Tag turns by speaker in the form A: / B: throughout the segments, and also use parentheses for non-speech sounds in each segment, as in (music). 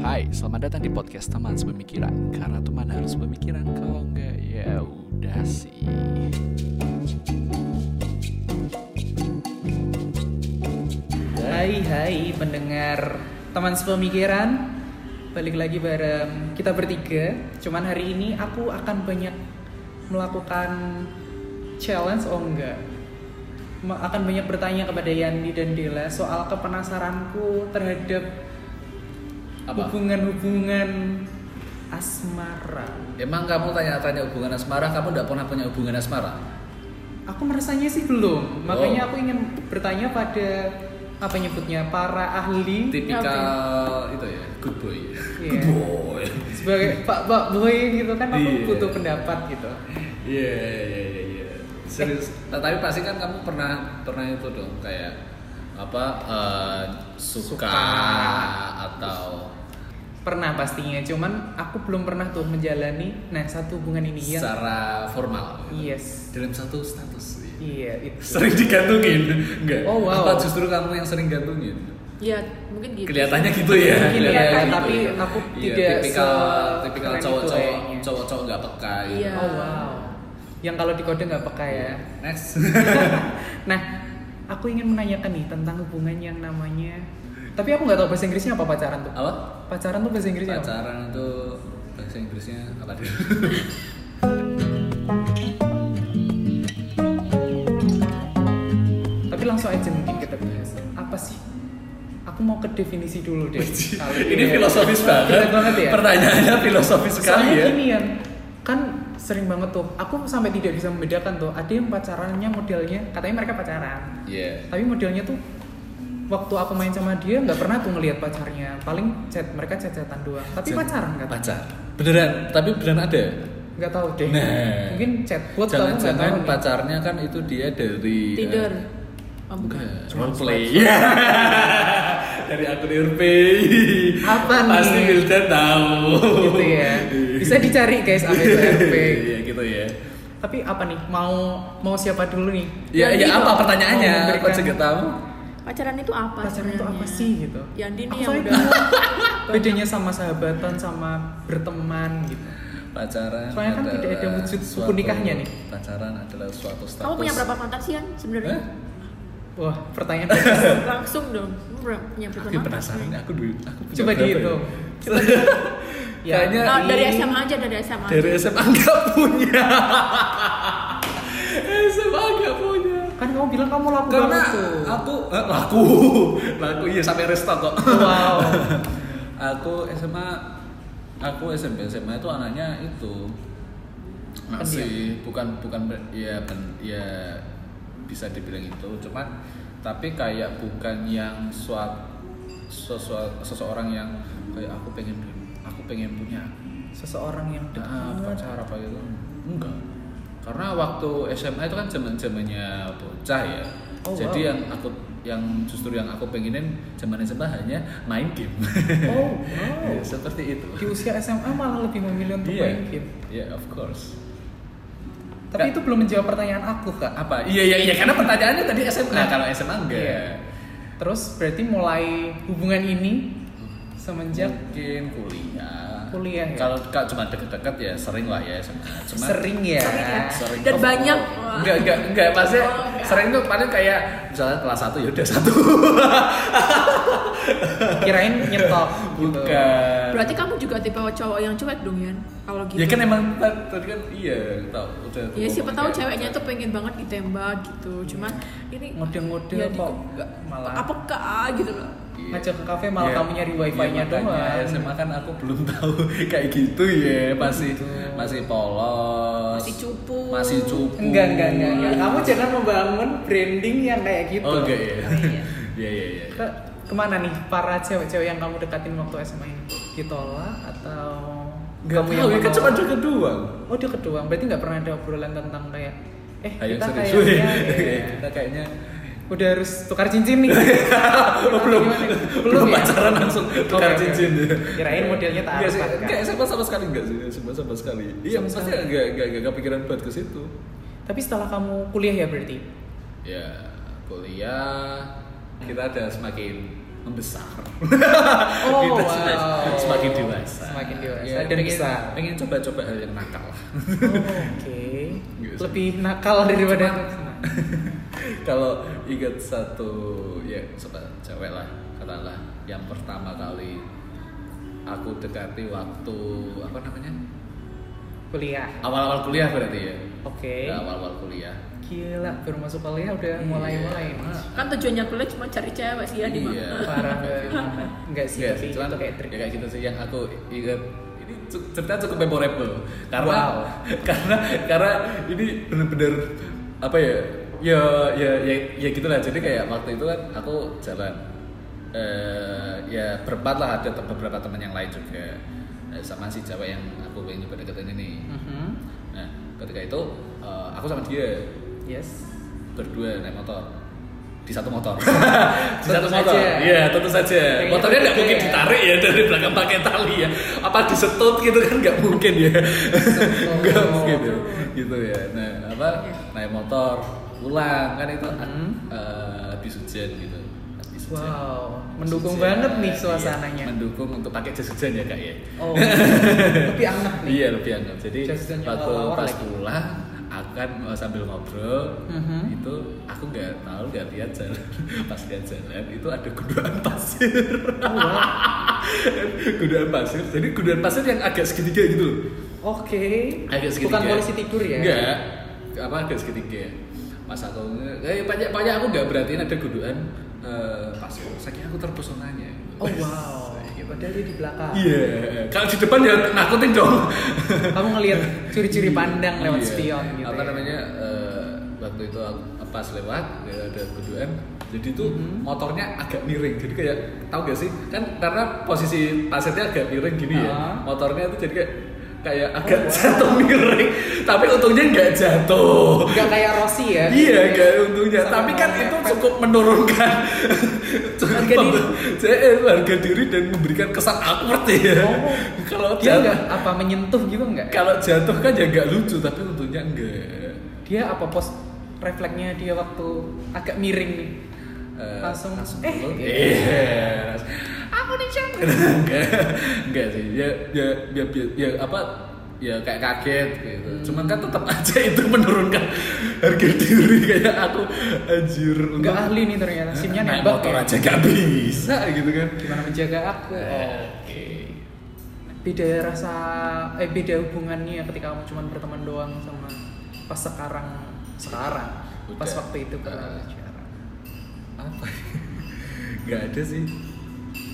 A: Hai, selamat datang di podcast teman sepemikiran Karena teman harus pemikiran Kalau enggak ya udah sih
B: Hai hai pendengar teman sepemikiran Balik lagi bareng kita bertiga Cuman hari ini aku akan banyak melakukan challenge oh enggak Ma- akan banyak bertanya kepada Yandi dan Dela soal kepenasaranku terhadap
A: Apa?
B: hubungan-hubungan asmara.
A: Emang kamu tanya-tanya hubungan asmara Kamu enggak pernah punya hubungan asmara?
B: Aku merasanya sih belum,
A: Oh.
B: makanya aku ingin bertanya pada apa nyebutnya para ahli apa-
A: Tipikal itu ya, good boy
B: Iya.
A: Good boy
B: sebagai pak pak boy gitu kan aku
A: Iya.
B: butuh pendapat gitu
A: Iya, iya, iya, iya Serius, Nah, tapi pasti kan kamu pernah pernah itu dong kayak apa eh, suka,
B: Suka.
A: atau
B: pernah pastinya cuman aku belum pernah tuh menjalani nah satu hubungan ini yang
A: secara formal gitu.
B: yes
A: dalam satu status iya.
B: iya itu
A: sering digantungin enggak
B: Oh, wow.
A: apa justru kamu yang sering gantungin
C: Iya, mungkin gitu.
A: kelihatannya gitu ya
B: Mungkin ya,
A: kelihatannya
B: tapi aku
A: Iya,
B: tidak
A: tipikal
B: se-
A: tipikal
B: keren itu
A: cowok-cowok
B: kayaknya.
A: cowok-cowok nggak peka gitu.
C: Iya.
B: oh wow yang kalau dikode nggak peka ya
A: next (laughs) Iya.
B: (laughs) nah aku ingin menanyakan nih tentang hubungan yang namanya tapi aku nggak tahu bahasa Inggrisnya apa pacaran tuh
A: apa
B: pacaran tuh bahasa Inggrisnya apa?
A: pacaran itu bahasa Inggrisnya apa deh
B: tapi langsung aja mungkin kita bahas apa sih aku mau ke definisi dulu deh kali
A: ini
B: ya.
A: filosofis banget
B: Berat banget ya
A: pertanyaannya filosofis sekali
B: Soalnya
A: ya
B: gini ya, kan sering banget tuh. Aku sampai tidak bisa membedakan tuh. Ada yang pacarannya modelnya, katanya mereka pacaran.
A: Iya.
B: Tapi modelnya tuh waktu aku main sama dia nggak pernah tuh ngelihat pacarnya. Paling chat mereka chat-chatan doang. Tapi
A: Chat-
B: pacaran nggak?
A: pacar beneran tapi beneran ada
B: Nggak tahu deh.
A: Nah.
B: Mungkin chatbot kamu nggak tahu.
A: Jangan-jangan
B: nih.
A: pacarnya kan itu dia dari
C: Tinder.
A: eh,
C: Oh,
B: kan
A: bukan,
C: bukan.
A: role play. (laughs) dari akun Irpay.
B: Apa nih?
A: Pasti Wildan tahu.
B: Gitu ya. Bisa dicari
A: (laughs)
B: guys apa itu RP.
A: Iya gitu ya.
B: Tapi apa nih? Mau mau siapa dulu nih?
A: Ya, ya
B: Yang gitu,
A: apa pertanyaannya?
B: mau
A: Kok
B: memberikan-
A: juga tahu?
C: Pacaran itu apa?
B: pacaran itu
C: sebenarnya?
B: apa sih gitu
C: Yandi nih
B: Aku
C: yang
B: soalnya
C: udah
A: (laughs)
B: bingung bedanya sama sahabatan sama berteman gitu
A: Pacaran
B: Soalnya kan tidak ada
A: adalah
B: wujud buku
A: suatu-
B: nikahnya nih.
A: Pacaran adalah suatu status.
C: Kamu punya berapa mantan sih, Yan? Sebenarnya?
A: Hah?
B: wah pertanyaan
A: (laughs)
B: bagus.
C: Langsung dong. Kamu ber- punya
A: Eh?
C: berapa Nah,
A: Aku
C: mantan
A: penasaran
C: sebenarnya?
A: aku duit. Aku punya
B: coba
A: berapa ya?
B: dihitung
A: (laughs)
B: Ya.
A: Kayaknya
C: Oh, dari SMA aja, dari SMA. aja.
A: Iya, dari SMA nggak punya. (laughs) SMA nggak punya.
B: kan kamu bilang kamu laku
A: karena
B: banget tuh
A: aku eh, laku (laughs) laku iya sampai resto kok (laughs)
B: wow
A: aku SMA aku SMP SMA itu anaknya itu masih bukan bukan ber- ya ben- ya bisa dibilang itu cuman tapi kayak bukan yang suat sesua- seseorang yang kayak aku pengen aku pengen punya
B: seseorang yang
A: Nah,
B: Ah, dekat
A: pacar apa gitu enggak karena waktu SMA itu kan zaman zamannya bocah ya
B: Oh,
A: jadi
B: wow.
A: yang aku yang justru yang aku pengenin zaman SMA hanya main game
B: oh
A: (laughs)
B: wow
A: Ya, seperti itu
B: di usia SMA malah lebih memilih untuk main game
A: iya of course
B: tapi
A: Kak.
B: itu belum menjawab pertanyaan aku kak
A: apa iya iya iya karena pertanyaannya tadi SMA nah, kalau SMA enggak
B: Iya. terus berarti mulai hubungan ini semenjak
A: mungkin kuliah
B: Kuliah ya?
A: kalau kalau cuma deket-deket ya sering lah ya SMA cuma
B: sering ya
C: Sering ya.
A: sering
C: Dan
A: Oh,
C: banyak.
A: oh. enggak enggak enggak maksudnya
C: Oh, enggak.
A: sering tuh paling kayak misalnya kelas satu ya udah satu
B: (laughs) kirain nyetok gitu.
A: bukan
C: Berarti kamu juga tipe cowok yang cuek dong, Yan? Kalau gitu.
A: ya kan emang ta- tadi kan iya tahu udah
C: Ya siapa
A: ngomong
C: tahu
A: kayak-
C: ceweknya tuh pengen banget ditembak gitu. Cuman ini
B: ngode-ngode
C: Ya, di-
B: kok malah
C: apa kak gitu loh.
A: Iya.
B: ngajak ke kafe malah
A: Iya.
B: kamu nyari wifi-nya
A: Iya, makanya
B: doang
A: SMA kan aku belum tahu (laughs) kayak gitu ya masih
B: Gitu.
A: masih polos
C: Masih cupu.
A: masih cupu
B: enggak enggak enggak enggak. kamu jangan membangun branding yang kayak gitu
A: oh enggak ya (laughs) iya iya iya
B: Ke- kemana nih para cewek-cewek yang kamu deketin waktu SMA ini ditolak atau
A: Gak
B: kamu
A: tahu ya kan
B: menolak?
A: cuma deket doang
B: oh dia kedua berarti nggak pernah ada obrolan tentang kayak eh
A: Ayo
B: kita
A: serius (laughs) Iya.
B: kayaknya ya,
A: kita kayaknya
B: udah harus tukar
A: (laughs)
B: cincin nih Atau
A: Oh, belum,
B: gimana?
A: belum
B: ya?
A: pacaran langsung tukar
B: Oke, oke.
A: cincin.
B: kirain modelnya tak
A: Enggak sih, enggak SMA sama sekali enggak sih, SMA sama sekali. Iya,
B: Sama
A: pasti
B: sekali.
A: enggak enggak enggak kepikiran buat ke situ.
B: tapi setelah kamu kuliah ya berarti
A: Ya, kuliah kita ada semakin membesar (laughs)
B: Oh,
A: Kita
B: wow.
A: semakin- semakin dewasa
B: Semakin dewasa
A: Ya,
B: dan
A: pengen-
B: besar.
A: pengen coba-coba hal yang nakal (laughs) lah
B: Oh, Oke.
A: Gitu sih.
B: Lebih nakal daripada
A: kalau ingat satu ya sobat cewek lah katakanlah yang pertama kali aku dekati waktu apa namanya
B: kuliah.
A: awal-awal kuliah berarti ya
B: Oke.
A: Ya, awal-awal kuliah
B: Gila, baru masuk kuliah udah mulai-mulai.
A: Iya.
B: Mas.
C: kan tujuannya kuliah cuma cari cewek sih ya di
A: Iya.
C: mana
B: Parah banget. Enggak sih,
A: Iya,
B: tapi
A: cuman
B: itu kayak trik.
A: ya kayak gitu sih yang aku ingat ini cu- cerita cukup memorable karena
B: Wow.
A: (laughs) karena karena ini bener-bener apa ya ya ya ya ya gitulah jadi kayak waktu itu kan aku jalan eh, ya berempat lah ada tem- beberapa teman yang lain juga Eh, sama si cewek yang aku pengen coba deketin ini
B: Mhm.
A: nah ketika itu eh, aku sama dia
B: Yes.
A: Iya. berdua naik motor di satu
B: (laughs)
A: motor di
B: Tentu
A: satu motor
B: saja.
A: iya tentu saja
B: Kayaknya
A: motornya nggak
B: tentu
A: mungkin
B: saja.
A: ditarik ya dari belakang pakai tali ya apa disetut gitu kan nggak mungkin ya (laughs) nggak mungkin ya. gitu ya nah apa naik motor pulang kan itu
B: Iya. Hmm.
A: eh, habis hujan gitu habis hujan.
B: Wow, mendukung
A: Hujan,
B: banget nih
A: iya.
B: suasananya.
A: mendukung untuk pakai jas hujan ya kak ya (laughs)
B: Oh, lebih anget nih.
A: Iya lebih anget. Jadi
B: Just the new
A: waktu
B: hour
A: pas
B: lagi.
A: pulang akan eh, sambil ngobrol
B: Mhm.
A: itu aku nggak tahu nggak lihat jalan (laughs) pas lihat jalan itu ada gundukan pasir (laughs)
B: Oh, wow.
A: gundukan pasir jadi gundukan pasir yang agak segitiga gitu loh
B: Oke.
A: agak segitiga
B: Bukan polisi tidur ya?
A: enggak apa agak segitiga pas aku nge- eh banyak banyak aku nggak berartiin ada gundukan eh, pasir saking aku terpesonanya
B: Oh wow. Padahal dia di belakang.
A: iya kalau di depan ya nakutin dong
B: Kamu ngelihat curi-curi pandang
A: Iya.
B: lewat spion gitu.
A: apa
B: ya.
A: namanya eh, waktu itu aku- pas lewat ya ada keduaan jadi tuh
B: Mhm.
A: motornya agak miring jadi kayak tahu gak sih kan karena posisi pasirnya agak miring gini ya
B: Ah. Oh,
A: motornya tuh jadi kayak kayak agak jatuh miring tapi untungnya nggak jatuh
B: Enggak kayak Rossi ya?
A: Iya,
B: gitu.
A: gak untungnya.
B: Sama
A: Tapi kan
B: orang
A: itu
B: mepet.
A: cukup
B: (laughs)
A: menurunkan cukup
B: Harga diri.
A: saya harga diri dan memberikan kesan awkward ya.
B: Oh.
A: Kalau
B: Dia
A: jatuh,
B: enggak apa menyentuh gitu juga enggak?
A: kalau jatuh kan ya nggak lucu, tapi untungnya enggak.
B: Dia apa pos refleksnya dia waktu agak miring nih.
A: Eh,
B: langsung,
A: eh,
B: eh,
A: iya.
C: aku
A: (laughs)
C: nih cewek
A: enggak enggak sih ya ya ya, ya, ya apa ya kayak kaget gitu
B: Hmm.
A: cuman kan tetap aja itu menurunkan harga diri kayak aku anjir
B: enggak
A: untung-
B: ahli nih ternyata. Simnya
A: Eh, naik
B: nembak
A: motor
B: ya.
A: aja gak bisa gitu kan Eh,
B: Gimana menjaga aku? Oh.
A: oke
B: Beda rasa eh beda hubungannya ketika kamu cuma berteman doang sama pas sekarang sekarang pas
A: Udah.
B: waktu itu kan
A: Eh. apa nggak ada sih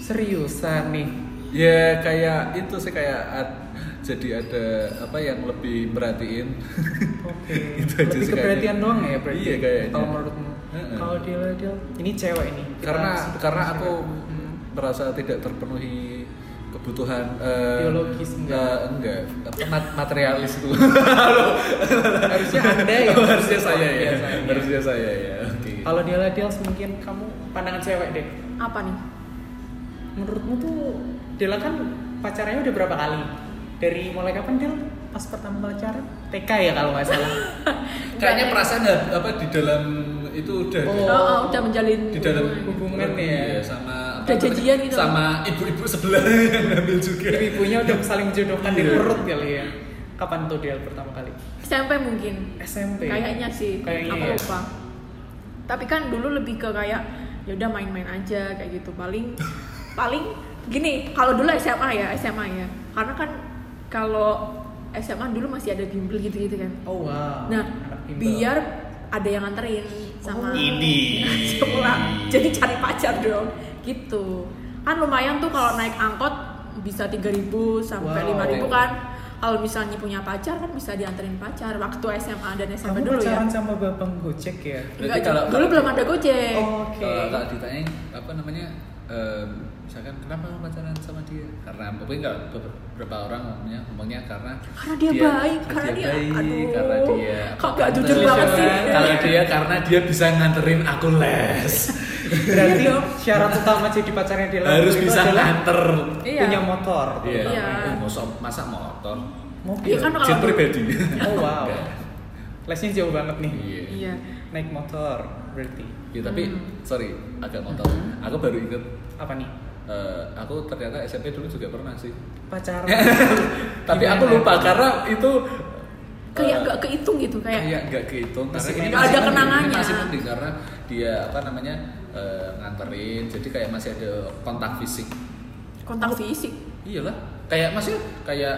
B: seriusan nih
A: ya kayak itu sih kayak ad- jadi ada apa yang lebih merhatiin
B: Oke.
A: (laughs) Itu aja
B: Lebih
A: sih
B: keperhatian
A: kayaknya.
B: doang ya berarti.
A: Iya, kayaknya.
B: Kalau menurutmu.
A: Heeh.
B: Kalau dia dia ini cewek ini. Kita
A: karena
B: harus-
A: karena
B: harus
A: aku
B: cewek.
A: (laughs)
B: Hmm.
A: merasa tidak terpenuhi kebutuhan eh,
B: Biologis, enggak.
A: eh, enggak apa, mat- materialis
B: (laughs)
A: itu
B: harusnya Anda yang
A: (laughs) harusnya saya ya
B: biasanya.
A: harusnya saya ya oke
B: Kalau dia dia mungkin kamu pandangan cewek deh.
C: apa nih
B: Menurutmu tuh Dela kan pacarnya udah berapa kali? Dari mulai kapan Del? Pas pertama pacaran? TK ya kalau nggak
A: (laughs)
B: salah.
A: kayaknya perasaan ha- apa di dalam itu udah
B: Oh,
C: oh, oh, udah menjalin
A: di dalam
B: hubungan
A: iya,
B: ya.
A: sama
C: Udah jadian gitu.
A: sama ibu-ibu sebelah (laughs) yang ngambil juga
B: Ibu-ibunya udah saling jodohkan di
A: Iya.
B: perut kali ya. Kapan tuh Del pertama kali?
C: SMP mungkin
B: SMP.
C: kayaknya sih
B: Kayaknya
C: aku
B: ya.
C: lupa tapi kan dulu lebih ke kayak ya udah main-main aja kayak gitu paling
B: (laughs)
C: paling gini kalau dulu SMA ya SMA ya karena kan kalau SMA dulu masih ada bimbel gitu-gitu kan
B: Oh wow.
C: nah
B: Anak bimbel.
C: biar ada yang nganterin
B: Oh.
C: sama (laughs)
A: Ini.
C: sekolah jadi cari pacar dong gitu kan lumayan tuh kalau naik angkot bisa 3000 sampai
B: Wow.
C: 5000 kan kalau misalnya punya pacar kan bisa dianterin pacar waktu SMA dan
B: Kamu
C: SMP dulu ya
B: pacaran sama Bambang Gojek ya?
A: Berarti
C: Enggak,
A: kalau-
C: dulu
A: kalau-
C: belum ada Gojek.
B: Oh, Oke.
A: Kalau tak ditanya Eh, apa namanya em, misalkan kenapa kamu pacaran sama dia? Karena mungkin nggak beberapa orang ngomongnya ngomongnya karena
C: Karena dia baik, karena dia-
A: baik,
C: aduh,
A: karena dia
C: kok nggak jujur
A: Terus,
B: banget sih?
A: Karena dia karena dia bisa nganterin aku les.
C: (laughs)
B: Berarti syarat utama jadi pacarnya Dela
A: (laughs) Harus
B: itu
A: bisa
B: adalah
A: nganter.
C: Iya.
B: punya motor.
A: Iya.
C: Iya.
A: Eh, masa masa motor.
B: Mobil.
C: Iya kan
A: Jet
C: kalau
A: pribadi.
B: Oh
A: (laughs)
B: wow.
A: Enggak.
B: Lesnya jauh banget nih.
A: Iya.
C: Iya. Hmm.
B: naik motor berarti
A: Ya, tapi sorry agak ngotot. Aku baru inget
B: apa nih
A: eh, aku ternyata SMP dulu juga pernah sih. (laughs)
B: pacaran
A: tapi
B: Gimana?
A: aku lupa karena itu
C: kayak
A: eh,
C: nggak kehitung gitu kayak
A: kayak nggak kehitung karena
B: Masih
A: ini
B: nggak ada
A: masih-
C: kenangannya.
A: ini masih penting karena dia apa namanya eh, nganterin jadi kayak masih ada kontak fisik
C: kontak fisik
A: iyalah kayak masih kayak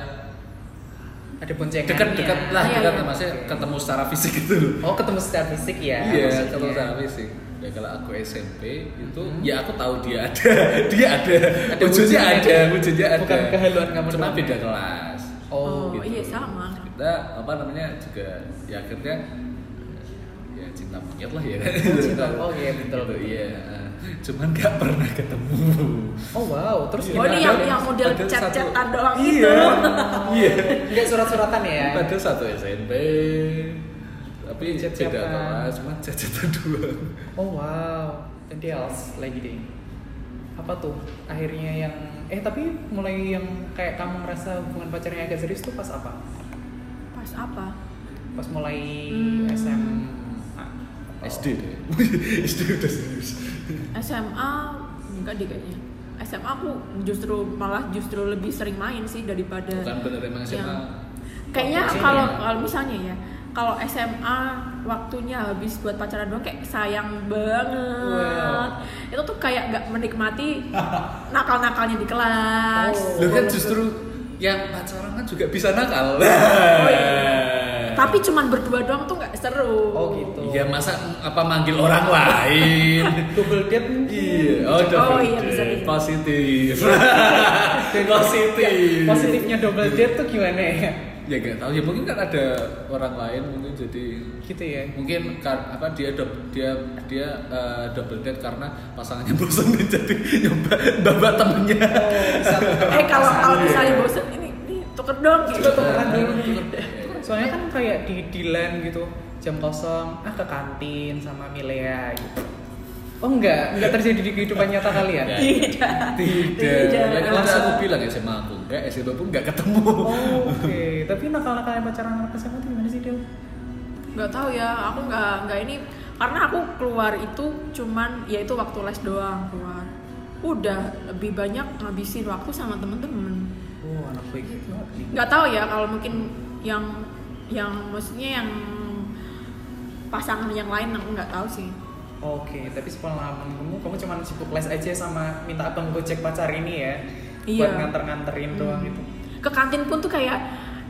B: ada boncengannya
A: dekat-dekat lah
C: Iya,
A: dekat
C: iya.
A: masih ketemu secara fisik gitu loh
B: oh ketemu secara fisik ya
A: iya
B: maksudnya.
A: ketemu secara fisik ya kalau aku SMP itu ya aku tahu dia ada (laughs) dia ada,
B: Ada
A: wujudnya
B: wujudnya.
A: ada wujudnya ada
B: Bukan kehaluan kamu
A: cuma
B: doang.
A: beda kelas
B: oh,
C: oh,
A: gitu.
C: iya sama
A: kita apa namanya juga ya akhirnya ya cinta monyet lah ya (laughs)
B: cinta, oh iya, betul.
A: Gitu, iya cuman nggak pernah ketemu
B: oh wow terus
C: oh
B: gimana
C: ini yang
B: dong?
C: yang model
A: Ada
C: chat chatan
A: satu-
C: doang
A: iya
C: gitu
A: (laughs)
C: Iya.
A: iya
B: nggak surat-suratan ya
A: pada satu SMP tapi
B: Chat
A: beda
B: siapa?
A: kelas cuma chat-chatan doang
B: oh wow And else lagi deh apa tuh akhirnya yang eh tapi mulai yang kayak kamu merasa hubungan pacarnya agak serius tuh pas apa
C: pas apa
B: pas mulai
C: Hmm.
B: SMA
A: SD
B: Oh.
A: deh (laughs) SD udah serius
C: SMA enggak deh kayaknya SMA aku justru malah justru lebih sering main sih daripada
A: bukan bener emang SMA
C: Iya. Yang- kayaknya
B: Sini.
C: kalau kalau misalnya ya kalau SMA waktunya habis buat pacaran doang kayak sayang banget itu tuh kayak nggak menikmati nakal-nakalnya di kelas
B: Oh.
A: lu kan justru yang pacaran kan juga bisa nakal
C: Oh, iya.
A: Nah.
C: tapi cuman berdua doang tuh nggak seru
B: oh gitu
A: Ya masa apa manggil orang lain?
B: double date
A: (laughs) iya, oh,
C: Oh,
A: double
C: iya,
A: date.
C: bisa, bisa.
A: positif. (laughs) positif.
B: Iya, positifnya double date tuh gimana ya
A: Ya gak tahu ya mungkin kan ada orang lain mungkin jadi
B: gitu ya
A: mungkin kar- apa dia dob- dia dia eh, double date karena pasangannya (laughs) bosan dan jadi nyoba bawa temennya. Iya.
C: eh
A: (laughs)
C: kalau kalau misalnya bosen ini ini tuker dong gitu Iya.
B: tukeran dulu.
C: (laughs)
A: Tuker.
B: soalnya kan kayak di Dilan gitu jam kosong ah ke kantin sama Milea gitu oh enggak enggak terjadi di kehidupan nyata ya? kalian
A: Enggak.
C: tidak
A: Tidak. Ya, kan
B: Langsung.
A: aku bilang ya sama aku enggak, SMA pun enggak ketemu.
B: oh, oke tapi nakal-nakal yang pacaran anak SMA tuh gimana sih Del?
C: nggak tahu ya aku nggak nggak ini karena aku keluar itu cuman ya itu waktu les doang keluar udah lebih banyak ngabisin waktu sama temen-temen
B: oh anak baik banget nih
C: nggak tahu ya kalau mungkin yang yang maksudnya yang pasangan yang lain aku nggak tahu sih
B: Oke, tapi sepengalaman kamu, kamu cuma sibuk les aja sama minta abang gojek pacar ini ya,
C: Iya.
B: buat nganter-nganterin doang gitu.
C: ke kantin pun tuh kayak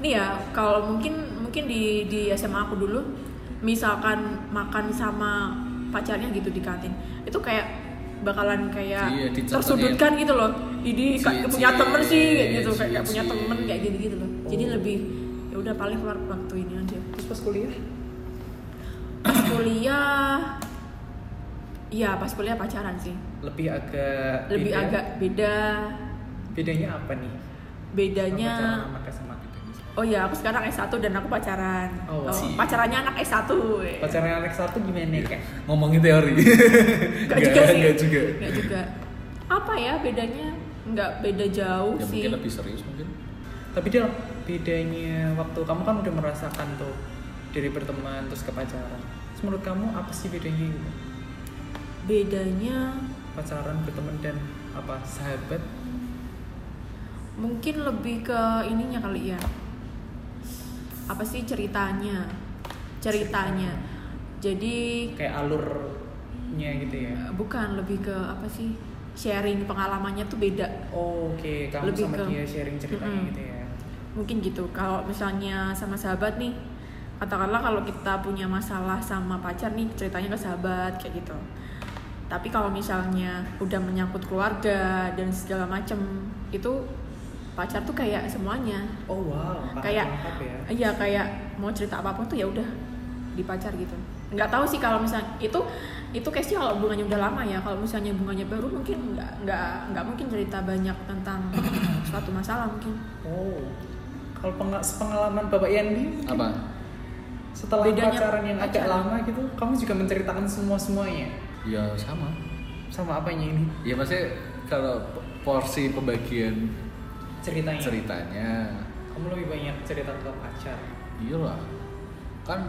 C: nih ya kalau mungkin mungkin di di SMA aku dulu misalkan makan sama pacarnya gitu di kantin itu kayak bakalan kayak
A: Iya, dicatat
C: tersudutkan
B: ya.
C: gitu loh
B: Iya,
C: jadi
A: Cie,
C: kayak punya
A: cie,
C: temen sih kayak gitu
A: cie,
C: kayak nggak punya
A: cie.
C: temen kayak gitu gitu loh jadi
B: Oh.
C: lebih ya udah paling keluar waktu ini aja
B: Terus pas kuliah,
C: pas kuliah Iya pas kuliah pacaran sih
B: lebih agak
C: lebih
B: beda.
C: agak beda
B: bedanya apa nih?
C: bedanya
B: Sama gitu? pacaran anak SMA.
C: Oh iya, aku sekarang S1 dan aku pacaran.
B: Oh,
C: Oh,
A: sih.
C: pacarannya anak S1. weh.
B: Pacaran anak satu gimana
C: Iya.
B: kayak?
A: (laughs) Ngomongin teori.
C: Enggak juga sih.
A: Enggak juga.
C: Enggak juga. Apa ya bedanya? Enggak beda jauh
A: Ya
C: sih.
A: mungkin lebih serius mungkin.
B: Tapi Del, bedanya waktu kamu kan udah merasakan tuh dari berteman terus ke pacaran. Terus menurut kamu apa sih bedanya gitu?
C: Bedanya
B: Pacaran, berteman dan apa sahabat?
C: mungkin lebih ke ininya kali ya. Apa sih ceritanya? Ceritanya. Jadi
B: Kayak alurnya gitu ya.
C: eh, bukan lebih ke apa sih? Sharing pengalamannya tuh beda.
B: Oh, Oke, kamu
C: Lebih
B: sama
C: ke-
B: dia sharing ceritanya
C: Mm-mm.
B: gitu ya.
C: mungkin gitu kalau misalnya sama sahabat nih katakanlah kalau kita punya masalah sama pacar nih ceritanya ke sahabat kayak gitu tapi kalau misalnya udah menyangkut keluarga dan segala macem itu pacar tuh kayak semuanya
B: Oh wow, pakai
C: kayak
B: lengkap ya.
C: iya kayak mau cerita apapun tuh ya udah di pacar gitu nggak tahu sih kalau misalnya itu itu case kalau hubungannya udah lama ya kalau misalnya hubungannya baru mungkin nggak nggak nggak mungkin cerita banyak tentang suatu masalah mungkin
B: Oh. Kalau penga- sepengalaman Bapak Yandi mungkin
A: Apa?
B: setelah
C: Bedanya
B: pacaran yang agak
C: pacaran.
B: lama gitu, kamu juga menceritakan semua-semuanya.
A: Ya sama.
B: Sama apanya ini?
A: Ya maksudnya kalau p- porsi pembagian
B: Ceritanya.
A: ceritanya
B: Kamu
A: Hmm.
B: lebih banyak cerita tentang pacar.
A: iyalah kan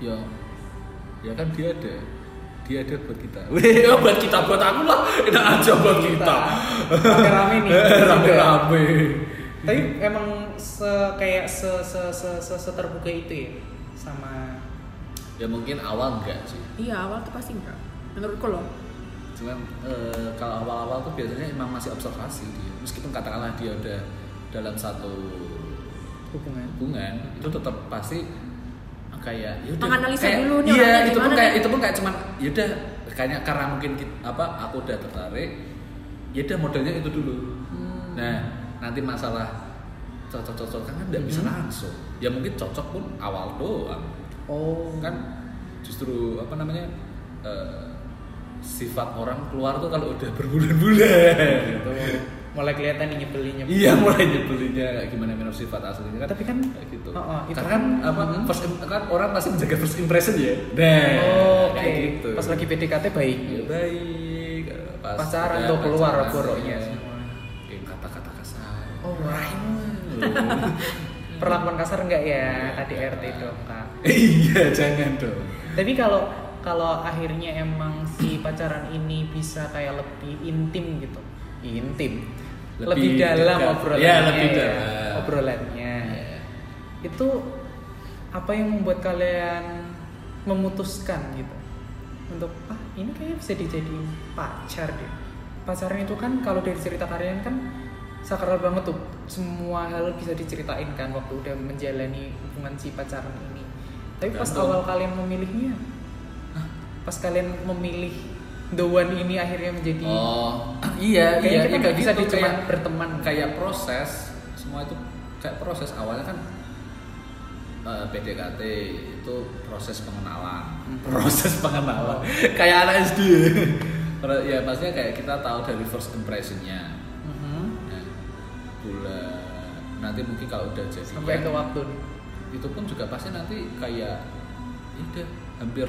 A: ya ya kan dia ada dia ada buat kita (laughs) Weh, ya buat kita buat aku lah enak aja buat kita
B: Rame-rame
A: (laughs)
B: nih.
A: rame-rame
B: Tapi emang se kayak se se se, se, se terbuka itu ya sama
A: ya mungkin awal enggak sih
C: iya awal tuh pasti enggak menurutku loh
A: cuman eh, kalau awal-awal tuh biasanya emang masih observasi dia meskipun katakanlah dia udah dalam satu
B: hubungan.
A: hubungan itu tetap pasti kayak yaudah,
C: Menganalisa
A: kayak-
C: dulu nih
A: iya
C: orangnya
A: itu pun
C: gimana
A: kayak
C: nih.
A: itu pun kayak cuman yaudah kayaknya karena mungkin kit- apa aku udah tertarik yaudah modelnya itu dulu nah nanti masalah cocok cocok kan nggak bisa
C: Hmm.
B: Mhm.
A: langsung ya mungkin cocok pun awal doang
B: Oh
A: kan justru apa namanya eh, sifat orang keluar tuh kalau udah berbulan-bulan
B: gitu. Mulai kelihatan nih nyebelinnya.
A: Iya (laughs) mulai nyebelinnya kayak gimana minum sifat aslinya kan
B: Tapi kan
A: kayak gitu.
B: Oh, oh, itu
A: Karena
B: kan-
A: kan apa first im- kan orang pasti menjaga first impression ya. Nah,
B: Oh, oke.
A: kayak gitu.
B: Pas lagi PDKT baik.
A: Ya, baik eh, pas
B: Pacaran
A: udah
B: tuh keluar
A: pacaran,
B: boroknya
A: ya.
B: semua.
A: Ya, kata-kata kasar.
B: Oh, Perlakuan kasar enggak ya? Tadi RT dong, Kak.
A: (laughs) iya, jangan dong.
B: Tapi kalau kalau akhirnya emang si pacaran ini bisa kayak lebih intim gitu. Intim. Lebih,
A: Lebih
B: dalam
A: dekat.
B: obrolannya.
A: Ya, lebih
B: ya.
A: dalam.
B: Obrolannya.
A: Ya.
B: Itu apa yang membuat kalian memutuskan gitu untuk ah ini kayaknya bisa dijadiin pacar deh. Pacaran itu kan kalau dari cerita kalian kan sakral banget tuh semua hal bisa diceritain kan waktu udah menjalani hubungan si pacaran ini. Tapi pas
A: Tergantung.
B: awal kalian memilihnya, pas kalian memilih the one ini akhirnya menjadi
A: Oh, iya, iya,
B: kayaknya kita
A: iya,
B: nggak
A: kayak
B: bisa
A: gitu,
B: dicuma
A: kayak-
B: berteman
A: kayak proses semua itu kayak proses awalnya kan eh, PDKT itu proses pengenalan
B: Hmm.
A: proses pengenalan (laughs) kayak anak SD Pro- ya maksudnya kayak kita tahu dari first impressionnya
B: Mhm.
A: nah, bulan nanti mungkin kalau udah jadi
B: sampai ke waktu nih.
A: itu pun juga pasti nanti kayak ya udah hampir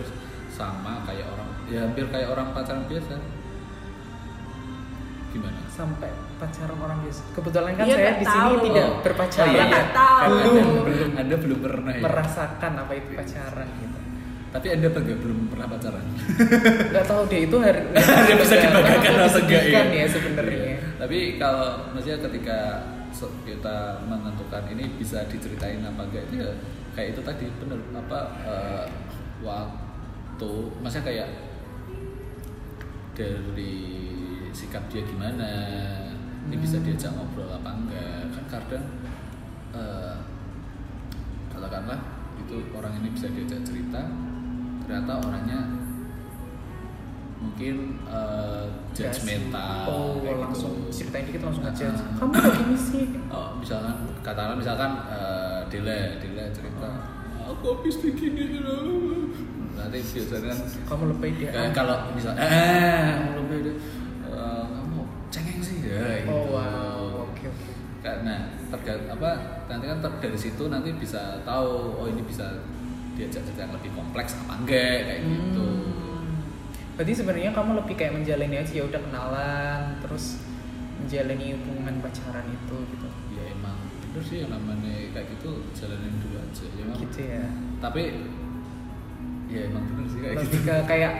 A: sama kayak orang ya hampir kayak orang pacaran biasa gimana
B: sampai pacaran orang biasa. Kebetulan kan
C: Iya,
B: saya
C: nggak
B: di sini
C: tahu.
B: tidak
A: Oh.
B: berpacaran.
A: Oh, iya, iya.
C: Nggak tahu.
A: Anda
B: Belum.
A: belum Anda belum pernah ya.
B: merasakan apa itu pacaran gitu.
A: Tapi Anda bangga belum pernah pacaran.
B: Nggak tahu deh itu
A: (laughs)
B: hari
A: Anda bisa dibanggakan
B: Aku
A: rasa enggak
B: sedihkan ya sebenarnya.
A: Iya. Tapi kalau maksudnya ketika se- kita menentukan ini bisa diceritain apa enggak itu ya kayak itu tadi bener apa eh, waktu maksudnya kayak dari sikap dia gimana ini bisa diajak ngobrol apa enggak kan kadang eh, katakanlah itu orang ini bisa diajak cerita ternyata orangnya mungkin eh, judgmental
B: Oh,
A: kayak
B: langsung
A: gitu.
B: ceritain dikit langsung aja.
A: Ah.
B: Kamu kok gini sih?
A: Oh, misalkan katakanlah misalkan eh delay delay cerita
B: Oh.
A: aku habis bikin ini loh." nanti biasanya kan
B: Kamu lebih dia.
A: Kayak kalau misal eh lebih ada eh, kamu cengeng sih ya gitu.
B: Oh wow, oke oke.
A: Karena tergantung apa nanti kan ter- dari situ nanti bisa tahu oh ini bisa diajak cerita yang lebih kompleks apa enggak kayak gitu.
B: Hmm. Berarti sebenarnya kamu lebih kayak menjalani aja ya udah kenalan, terus menjalani hubungan pacaran itu gitu.
A: Ya emang bener sih yang namanya kayak gitu jalanin dulu aja. Ya, emang.
B: Gitu ya.
A: Tapi ya emang bener sih kayak gitu.
B: lebih ke kayak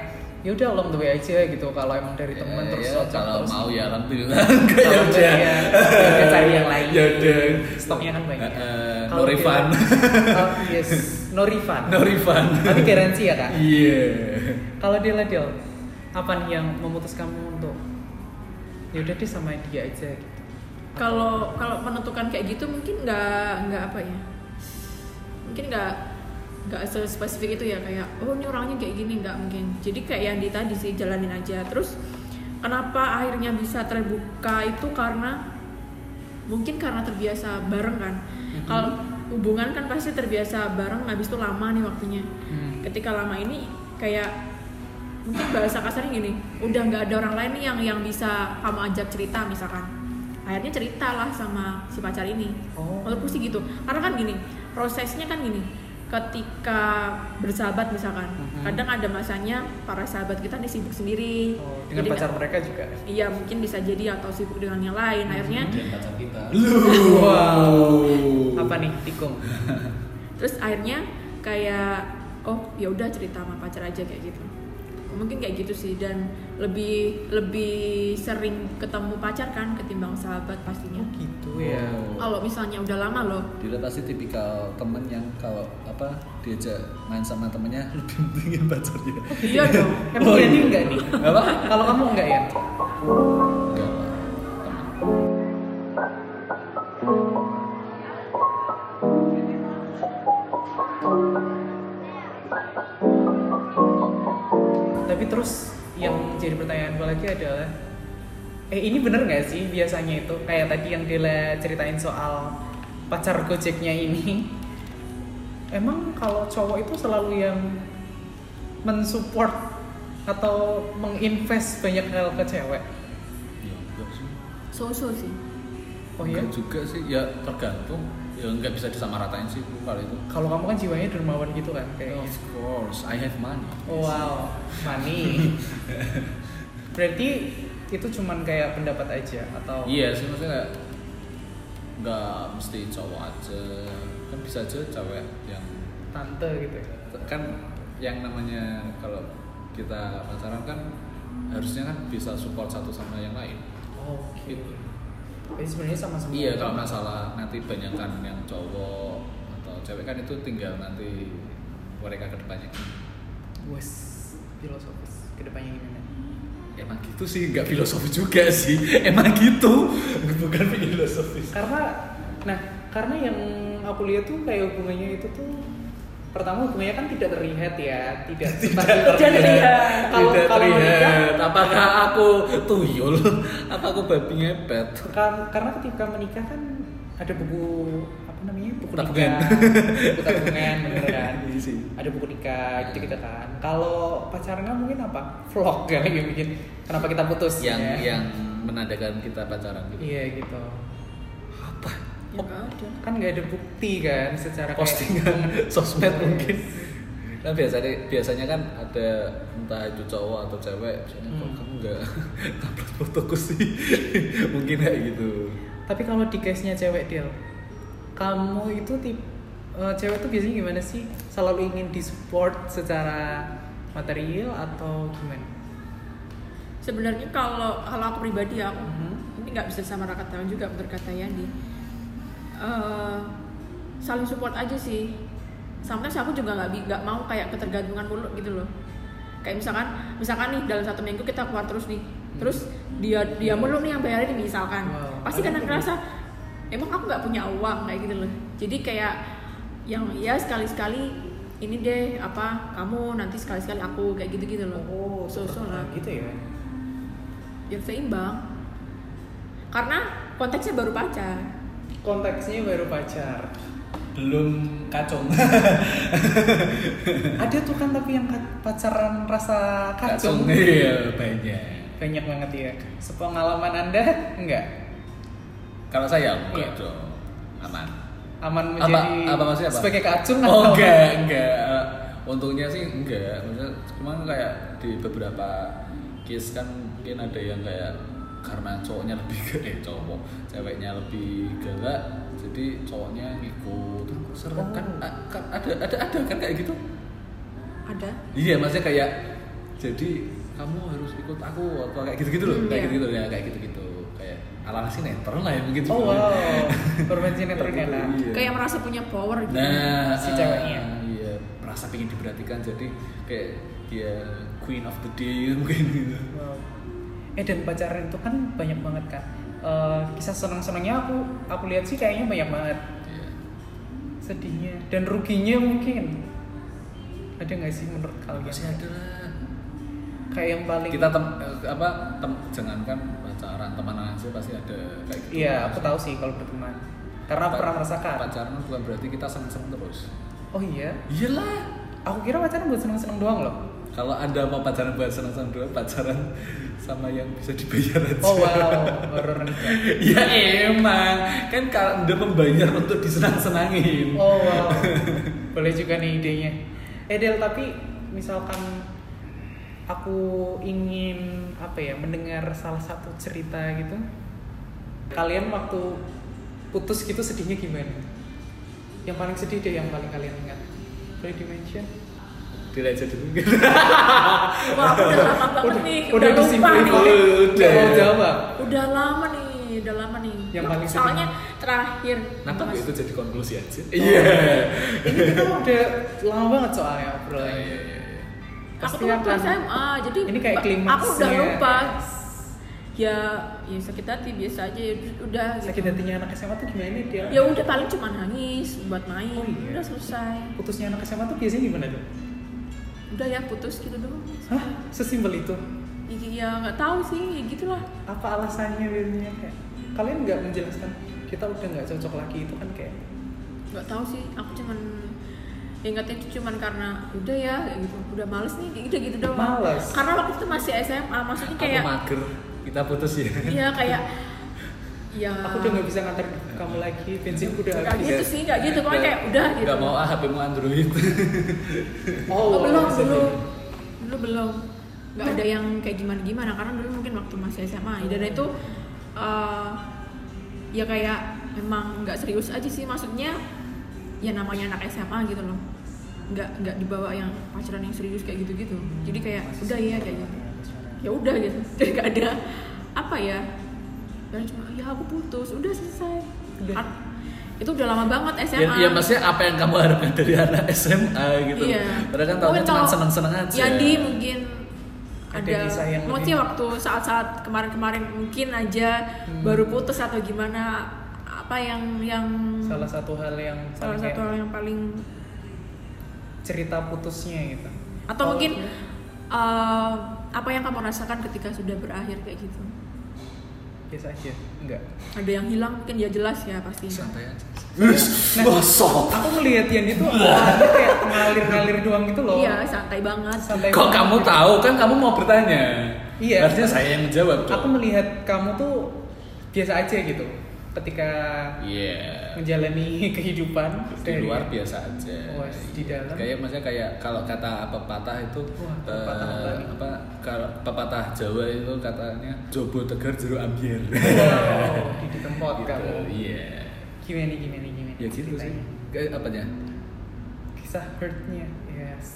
B: ya udah long the way aja gitu kalau emang dari
A: Ya,
B: teman terus
A: ya,
B: cocok,
A: kalau
B: terus gitu.
A: mau ya alhamdulillah (laughs) enggak ya
B: Kalau enggak,
A: udah.
B: ya, ya udah cari yang lain.
A: Ya udah.
B: stoknya kan banyak
A: Eh, eh,
B: Kalau
A: no refund. (laughs)
B: Dela- oh, yes no refund
A: No refund.
B: tapi garansi ya kak
A: Iya.
B: kalau Dela Del apa nih yang memutus kamu untuk ya udah deh sama dia aja gitu
C: kalau kalau menentukan kayak gitu mungkin nggak nggak apa ya mungkin nggak nggak spesifik itu ya kayak oh ini orangnya kayak gini nggak mungkin jadi kayak yang di tadi sih jalanin aja terus kenapa akhirnya bisa terbuka itu karena mungkin karena terbiasa bareng kan kalau hubungan kan pasti terbiasa bareng habis itu lama nih waktunya
B: Hmm.
C: ketika lama ini kayak mungkin bahasa kasarnya gini udah nggak ada orang lain nih yang yang bisa kamu ajak cerita misalkan akhirnya ceritalah sama si pacar ini
B: Oh.
C: menurutku sih gitu karena kan gini prosesnya kan gini ketika bersahabat misalkan
B: Mhm.
C: kadang ada masanya para sahabat kita nih sibuk sendiri
B: Oh, dengan
C: Jadi
B: pacar
C: nggak-
B: mereka juga
C: iya mungkin bisa jadi atau sibuk dengan yang lain
B: Kan?
C: akhirnya
B: Mm-hmm.
A: Dan pacar kita.
B: wow apa nih tikung
C: terus akhirnya kayak oh ya udah cerita sama pacar aja kayak gitu mungkin kayak gitu sih dan lebih lebih sering ketemu pacar kan ketimbang sahabat pastinya
B: Oh gitu ya.
A: Oh.
C: kalau misalnya udah lama loh
A: Dila pasti tipikal temen yang kalau apa diajak main sama temennya (laughs) lebih pentingin pacarnya.
B: Oh,
C: iya dong
B: Emang
A: Oh,
B: berarti
A: iya.
B: enggak nih?
A: Apa?
B: Kalau kamu enggak ya?
A: Enggak lah. Temen.
B: Tapi terus yang jadi pertanyaan gue lagi adalah Eh ini bener gak sih biasanya itu kayak tadi yang Dela ceritain soal pacar gojeknya ini Emang kalau cowok itu selalu yang mensupport atau menginvest banyak hal ke cewek
A: Ya enggak sih.
C: so-so sih
B: Oh iya?
A: Enggak juga sih. Ya tergantung. Ya enggak bisa disamaratain sih kalau itu.
B: Kalau kamu kan jiwanya dermawan gitu kan kayaknya Oh,
A: Of course, I have money.
B: Wow, money. Berarti itu cuman kayak pendapat aja atau
A: Iya sih maksudnya kayak nggak mesti cowok aja kan bisa aja cewek yang
B: tante gitu ya?
A: kan yang namanya kalau kita pacaran kan harusnya kan bisa support satu sama yang lain.
B: Oke. Jadi sebenarnya sama-sama.
A: Iya kalau masalah nanti banyakkan yang cowok atau cewek kan itu tinggal nanti mereka kedepannya
B: Wes, filosofis kedepannya gimana?
A: emang gitu sih nggak filosofi juga sih (laughs) emang gitu bukan filosofis
B: Karena, nah, karena yang aku lihat tuh kayak hubungannya itu tuh pertama hubungannya kan tidak terlihat ya,
A: (laughs)
B: tidak tidak
C: terlihat.
B: Kalau
A: tidak
B: kalau menikah,
A: terlihat apakah aku tuyul (laughs) apa aku babi ngepet
B: Kar- karena ketika menikah kan ada buku apa namanya buku
A: Tabungan.
B: (laughs) nikah buku tabungan bener kan
A: Iya sih. Iya.
B: ada buku nikah gitu gitu kan kalau pacaran kan mungkin apa vlog kali yang bikin kenapa kita putus
A: yang
B: ya?
A: yang menandakan kita pacaran gitu
B: iya gitu
A: apa
C: ya nggak ada
B: kan nggak ada bukti kan secara kayak-
A: (laughs)
B: gitu. Iya,
A: postingan sosmed
B: Yes.
A: mungkin
B: iya.
A: kan biasanya biasanya kan ada entah itu cowok atau cewek biasanya kok
B: Hmm.
A: kamu nggak (laughs) upload fotoku sih (laughs) mungkin kayak gitu
B: tapi kalau di case nya cewek deal kamu itu tip eh, cewek tuh biasanya gimana sih selalu ingin disupport secara material atau gimana?
C: sebenarnya kalau kalau aku pribadi ya, aku
A: Mm-hmm.
B: Mhm.
C: ini nggak bisa sama rakatawan juga bener kata Yandi Eh, saling support aja sih sometimes aku juga nggak bi- nggak mau kayak ketergantungan mulu gitu loh kayak misalkan misalkan nih dalam satu minggu kita keluar terus nih terus dia dia mulu nih yang bayarin nih, misalkan
B: Wow.
C: pasti kadang ngerasa emang aku nggak punya uang kayak gitu loh jadi kayak yang ya sekali sekali ini deh apa kamu nanti sekali sekali aku kayak gitu gitu loh so-so lah
B: gitu Oh, ya.
C: yang Ya, seimbang karena konteksnya baru pacar
B: konteksnya baru
A: (laughs)
B: pacar
A: belum kacung
B: ada tuh kan tapi yang ka- pacaran rasa
A: kacung
B: kacung
A: iya banyak
B: banyak banget ya sepengalaman anda enggak
A: kalau saya enggak
B: Iya.
A: dong aman
B: aman
A: apa
B: menjadi
A: apa maksudnya apa
B: sebagai kacung
A: oh
B: atau
A: enggak enggak Eh, untungnya sih enggak maksudnya cuma kayak di beberapa case kan mungkin ada yang kayak karena cowoknya lebih (laughs) ke eh cowok ceweknya lebih galak jadi cowoknya ngikut Aku serem kan, a- kan ada ada ada kan kayak gitu
C: ada
A: iya maksudnya kayak jadi kamu harus ikut aku atau kayak gitu gitu loh
C: Hmm,
A: kayak
C: iya.
A: gitu gitu ya kayak gitu gitu kayak ala sinetron lah ya mungkin
B: oh
A: sebenarnya.
B: wow permen sinetron
A: Kayak gitu,
B: enak
A: iya.
C: kayak merasa punya power gitu
A: Nah,
B: Si ceweknya.
A: eh, iya, merasa pengen diperhatikan jadi kayak dia queen of the day (laughs) mungkin gitu.
B: Wow. Eh dan pacaran itu kan banyak banget kan. Eh, kisah senang-senangnya aku aku lihat sih kayaknya banyak banget.
A: Iya.
B: Sedihnya dan ruginya mungkin. Ada nggak sih menurut kalian?
A: Masih ada lah.
B: Kayak yang paling
A: Kita tem eh, apa tem jangankan pacaran teman aja pasti ada kayak gitu.
B: Iya, aku tahu sih kalau berteman. Karena aku
A: Pa-
B: pernah merasakan.
A: Pacaran bukan berarti kita seneng-seneng terus.
B: Oh iya,
A: Iyalah.
B: aku kira pacaran buat seneng-seneng doang (laughs) loh.
A: Kalau anda mau pacaran buat seneng-seneng doang, pacaran sama yang bisa dibayar aja.
B: Oh wow, baru nikah.
A: (laughs) ya emang kan kalau anda membayar untuk disenang-senangin.
B: Oh wow,
C: (laughs)
B: boleh juga nih idenya. Eh Del, tapi misalkan aku ingin apa ya mendengar salah satu cerita gitu, kalian waktu putus gitu sedihnya gimana? Yang paling sedih deh, yang paling kalian ingat. Boleh dimention? delete aja dulu
C: Wah, aku udah lama banget nih, udah, lupa
B: disimplifikasi.
C: nih.
B: Nggak mau jawab
C: Udah lama nih, udah lama nih.
B: Yang paling sering- gitu?
C: soalnya terakhir.
A: Nangkep
C: Mas-
A: itu jadi konklusi aja.
B: Iya. Ini kita udah lama banget soalnya
A: Iya, iya,
B: obrolannya.
A: iya, iya.
C: aku
B: Pasti
C: tuh waktu
B: akan-
C: SMA, jadi
B: kan? Ini kayak
C: ba- aku udah
B: klimaksnya.
C: lupa. Ya, ya sakit hati biasa aja ya udah gitu.
B: Sakit hatinya anak SMA tuh gimana nih dia?
C: Ya udah paling cuma nangis buat main,
B: Oh, iya.
C: udah selesai.
B: Putusnya anak SMA tuh biasanya gimana tuh?
C: Udah ya putus gitu doang.
B: Hah? Sesimpel itu?
C: Ya, ya nggak tahu sih, ya gitulah.
B: Apa alasannya biasanya kayak? Kalian nggak menjelaskan kita udah nggak cocok lagi itu kan kayak
C: nggak tahu sih aku cuman ingatnya itu cuman karena udah ya kayak gitu udah males nih kayak gitu gitu doang
B: Males.
C: karena waktu itu masih SMA maksudnya kayak
A: Aku mager, kita putus ya.
C: iya kayak ya
B: aku udah nggak bisa nganter kamu lagi bensinku udah
C: Nggak
B: habis.
C: gitu sih nggak gitu pokoknya kayak udah gitu
A: Gak Iya. mau ah HP-mu Android.
C: Oh, belum
B: alasannya.
C: belum dulu belum nggak ada yang kayak gimana gimana karena dulu mungkin waktu masih SMA dan
B: Hmm.
C: itu eh, ya kayak emang nggak serius aja sih maksudnya ya namanya anak SMA gitu loh nggak nggak dibawa yang pacaran yang serius kayak gitu gitu jadi kayak udah ya kayak gitu ya udah gitu (laughs) jadi nggak ada apa ya dan cuma ya aku putus udah selesai
B: Udah. Iya,
C: Ar- itu udah lama banget
A: ya,
C: SMA
A: ya maksudnya apa yang kamu harapkan dari anak SMA gitu.
C: Iya.
A: Padahal kan
C: Mungkin
A: tahunnya cuma
C: kalau
A: seneng-seneng aja.
C: Yandi mungkin
B: Ada
C: ada,
B: kisah yang
C: mungkin
B: lebih-
C: waktu saat-saat kemarin-kemarin mungkin aja
B: Hmm.
C: baru putus atau gimana apa yang yang
B: Hmm. Salah satu hal yang
C: salah
B: paling
C: satu
B: kayak
C: hal yang paling
B: cerita putusnya gitu.
C: atau
B: Oh,
C: mungkin
B: iya.
C: eh, apa yang kamu rasakan ketika sudah berakhir kayak gitu
B: biasa aja enggak
C: ada yang hilang mungkin ya jelas ya pasti
A: santai aja. Nah, Wis, bosok.
B: aku ngelihat Yan itu awalnya kayak ngalir-ngalir doang gitu loh
C: iya santai banget
B: Santai
A: Kok
B: banget.
A: kamu tahu kan kamu mau bertanya?
B: Iya.
A: Harusnya saya yang menjawab
B: aku
A: dong.
B: melihat kamu tuh biasa aja gitu ketika
A: Iya.
B: menjalani (laughs) kehidupan
A: Di
B: dari-
A: luar biasa aja.
B: Wes, di dalam. (laughs)
A: Kayak maksudnya kayak kalau kata pepatah itu
B: Wah,
A: eh,
B: pepatah apa nih?
A: apa kalau pepatah Jawa itu katanya jobo tegar jero ambiar.
B: (laughs) wow, Oh, di, di tempat
A: gitu.
B: kamu
A: Iya.
B: gimana gimana gimana
A: Ya gitu sih.
B: ceritanya?
A: Kayak apanya?
B: kisah hurtnya yes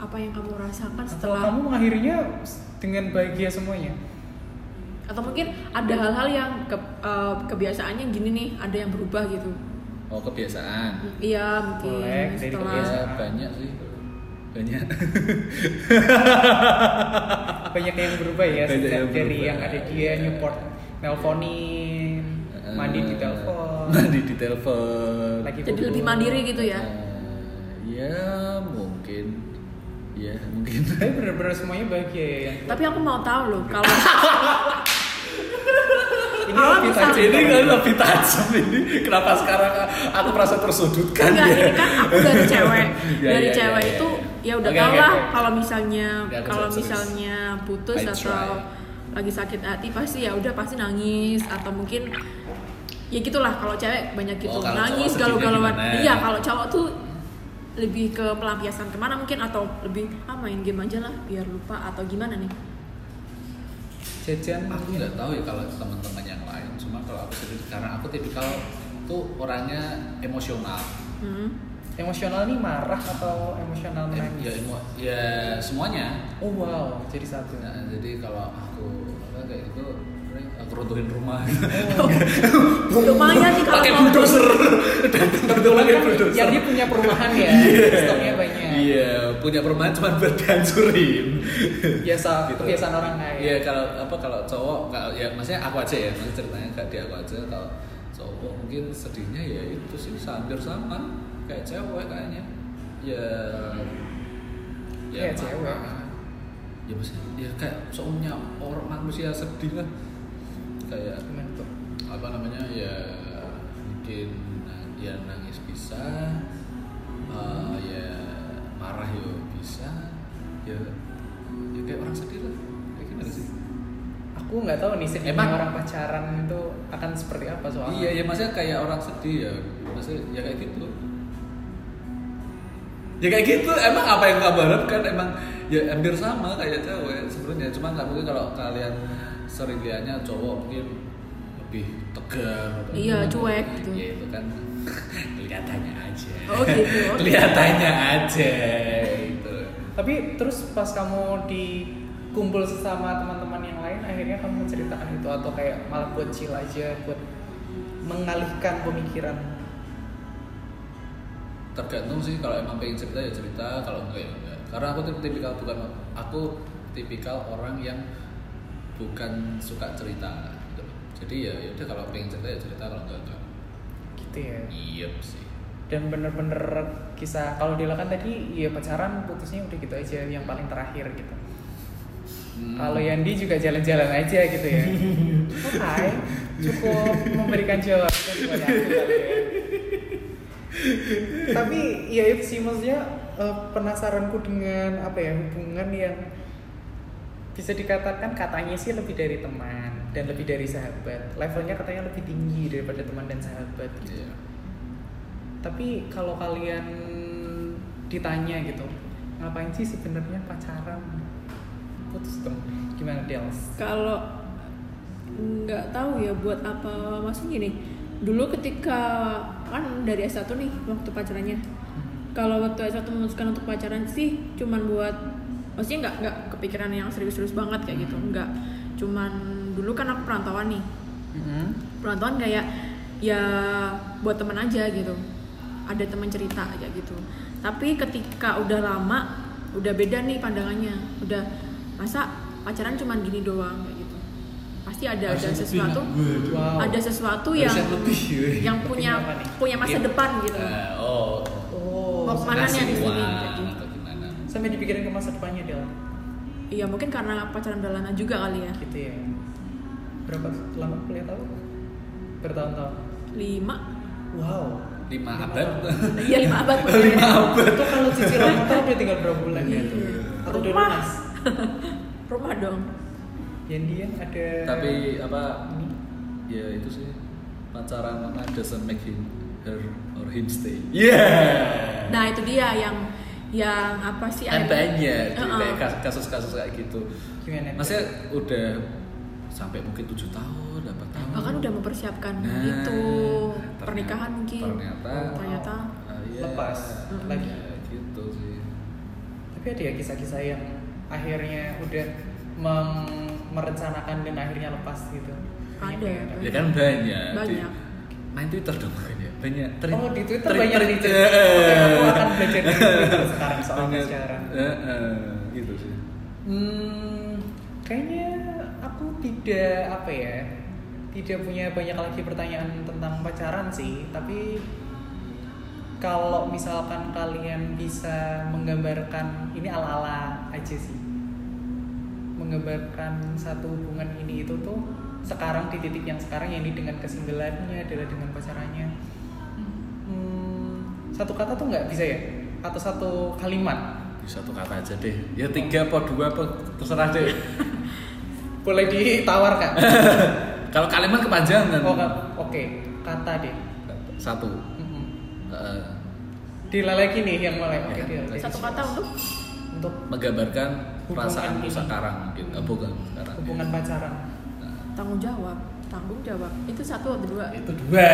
C: apa yang kamu rasakan
B: setelah
C: setelah
B: kamu mengakhirinya s- dengan bahagia semuanya
C: atau mungkin ada hal-hal yang ke- eh, kebiasaannya gini nih ada yang berubah gitu
A: Oh, kebiasaan.
C: Iya mungkin
B: Boleh, dari kebiasaan.
C: setelah
A: Ya, banyak sih. Banyak.
B: banyak yang berubah ya
A: Banyak
B: sejak
A: yang
B: dari
A: berubah. Iya.
B: yang ada dia nyupport nelponin (laughs) mandi di telepon
A: Eh. (laughs) Mandi di telepon.
B: Lagi
C: Jadi lebih mandiri gitu ya?
B: Iya.
A: Eh, ya mungkin. Ya
B: (laughs)
A: mungkin.
B: tapi bener-bener semuanya bahagia ya Yan.
C: tapi aku mau tahu loh kalau
B: ini
C: Alam
B: lebih
C: bisa-
B: tajam
A: ini kan lebih tajam ini. Kenapa sekarang aku merasa tersudutkan
C: enggak ini kan aku dari
A: (laughs)
C: cewek
A: Ya,
C: dari
A: ya, ya,
C: cewek
A: ya,
C: itu
A: ya.
C: ya udah
B: Oke,
C: tau
B: oke,
C: lah
B: oke.
C: kalau misalnya
A: Ya, aku
C: kalau
A: serius.
C: misalnya putus
A: I
C: atau lagi sakit hati pasti ya udah pasti nangis atau mungkin ya gitulah kalau cewek banyak gitu
A: Oh, kalau
C: nangis
A: cowok
C: galau-galauan
A: sedihnya gimana?
C: iya kalau cowok tuh lebih ke pelampiasan kemana mungkin atau lebih ah main game aja lah biar lupa atau gimana nih
B: jajan
A: Aku nggak tahu ya kalau teman-teman yang lain. Cuma kalau aku sendiri karena aku tipikal tuh orangnya emosional.
C: hmm.
B: emosional nih marah atau emosional
A: Em- ya,
B: menangis
A: emo- ya semuanya
B: oh wow jadi satu
A: Nah, jadi kalau aku apa kayak gitu sering aku runtuhin rumah.
B: Oh.
A: (laughs)
C: lumayan nih kalau
A: Pakai
C: mau-
A: bulldozer. Datang runtuh lagi bulldozer.
B: kan yang dia punya perumahan ya stoknya banyak
A: Iya, punya perumahan cuma buat
B: (laughs)
A: dihancurin.
B: biasa
A: Gitu.
B: kebiasaan orang ya. kaya
A: Iya, kalau apa kalau cowok kalau ya maksudnya aku aja ya, maksudnya ceritanya kayak dia aku aja kalau cowok mungkin sedihnya ya itu sih hampir sama kayak cewek kayaknya. Ya
B: Kayak
A: maka-
B: Iya, cewek.
A: Ya maksudnya ya kayak seumumnya orang manusia sedih lah. Kayak
B: Gimana tuh?
A: apa namanya ya mungkin na- ya nangis bisa eh, ya marah yo bisa ya ya kayak orang sedih lah kayak gimana sih
B: aku nggak tahu nih sedihnya
A: Emang-
B: orang pacaran itu akan seperti apa soalnya
A: iya ya maksudnya kayak orang sedih ya maksudnya ya kayak gitu ya kayak gitu emang apa yang kamu harapkan emang ya hampir sama kayak cewek sebenarnya cuma nggak mungkin kalau kalian sering lihatnya cowok mungkin lebih tegar atau
C: Iya,
A: gimana.
C: cuek gitu.
A: ya itu kan (laughs) kelihatannya aja
C: Oh, gitu, oke.
A: kelihatannya aja gitu
B: Tapi terus pas kamu di kumpul sesama teman-teman yang lain akhirnya kamu menceritakan itu atau kayak malah buat chill aja buat mengalihkan pemikiran
A: tergantung sih kalau emang pengen cerita ya cerita kalau enggak ya enggak karena aku tuh tipikal bukan aku tipikal orang yang bukan suka cerita gitu. jadi ya ya udah kalau pengen cerita ya cerita kalau enggak enggak
B: gitu ya.
A: iya sih
B: Dan bener-bener kisah kalau Dila kan tadi ya pacaran putusnya udah gitu aja yang paling terakhir gitu.
A: Hmm.
B: Kalau Yandi juga jalan-jalan aja gitu ya. Hai, cukup memberikan jawaban buat aku kali ya. Tapi ya itu sih maksudnya eh, penasaranku dengan apa ya hubungan yang bisa dikatakan katanya sih lebih dari teman dan lebih dari sahabat. Levelnya katanya lebih tinggi daripada teman dan sahabat. gitu.
A: Iya.
B: Tapi kalau kalian ditanya gitu, ngapain sih sebenarnya pacaran? Putus dong. Gimana Dels?
C: kalau nggak tahu ya buat apa maksudnya gini dulu ketika kan dari S1 nih waktu pacarannya kalau waktu S1 memutuskan untuk pacaran sih cuman buat maksudnya nggak nggak kepikiran yang serius-serius banget kayak gitu nggak cuman dulu kan aku perantauan nih
A: Mm-hmm.
C: penonton kayak ya buat temen aja gitu ada teman cerita kayak gitu tapi ketika udah lama udah beda nih pandangannya udah masa pacaran cuman gini doang kayak gitu pasti ada ada
A: Harusnya lebih
C: sesuatu
A: lah gue tuh.
B: Wow.
C: ada sesuatu yang
A: Harusnya lebih gue.
C: yang
B: Lebih
C: punya
B: apa nih?
C: punya masa
B: Iya.
C: depan gitu
A: Eh, oh
B: Oh,
C: Mau kemana nih
A: ngasih
C: habis ini?
A: uang atau gimana
B: sampai dipikirin ke masa depannya Del.
C: iya mungkin karena pacaran udah lama juga kali ya
B: Gitu ya. Berapa lama kuliah tahu? Bertahun-tahun.
C: lima
B: Wow.
A: lima abad
C: iya lima abad
A: lima abad
B: Itu kalau cicilan motor udah tinggal berapa bulan ya itu? Atau udah
C: Iya. Rumah.
B: lunas?
C: rumah dong
B: Yandi yang ada
A: (laughs) tapi apa ya itu sih pacaran online doesn't make him her or him stay yeah
C: nah itu dia yang yang apa sih
A: kan banyak
C: Heeh.
A: kayak kas- kasus-kasus kayak gitu
B: gimana? Del?
A: maksudnya udah sampai mungkin tujuh tahun dapat tahun
C: Eh, bahkan udah mempersiapkan
A: Nah,
C: itu
A: ternyata-
C: pernikahan mungkin Oh,
A: ternyata
C: ternyata
A: Ah, iya.
B: Lepas lagi.
A: Ya, gitu sih
B: Tapi ada ya kisah-kisah yang akhirnya udah mem- merencanakan dan akhirnya lepas gitu.
C: Ada ya, Pak.
A: ya kan banyak
C: Banyak.
A: Di- main Twitter dong banyak banyak Teri-
B: Oh, di Twitter
A: teri-
B: banyak
A: teri-
B: nih, Cek.
A: Eh.
B: Oke, aku akan belajar dari
A: (laughs)
B: Twitter sekarang soal
A: Banyak.
B: pacaran.
A: Eh, eh, gitu sih
B: Hmm, kayaknya aku tidak apa ya, tidak punya banyak lagi pertanyaan tentang pacaran sih. Tapi kalau misalkan kalian bisa menggambarkan ini ala-ala aja sih, menggambarkan satu hubungan ini itu tuh sekarang di titik yang sekarang ya ini dengan kesinggelannya adalah dengan pacarannya. Hmm, satu kata tuh nggak bisa ya? Atau satu kalimat?
A: Di satu kata aja deh ya tiga apa dua apa terserah deh
B: Boleh ditawarkan?
A: kalau kalimat kepanjangan
B: Oh, nggak. oke, kata deh.
A: satu
B: Mm-mm.
A: Eh,
B: Dila lagi nih yang mulai.
A: Ya,
B: Oke, Dila.
A: lagi.
C: satu kata untuk
B: Untuk
A: menggambarkan
B: Hubungan
A: perasaanku
B: ini.
A: sekarang mungkin Eh, bukan sekarang
B: hubungan pacaran.
A: Nah,
C: tanggung jawab tanggung jawab itu satu atau dua
A: itu dua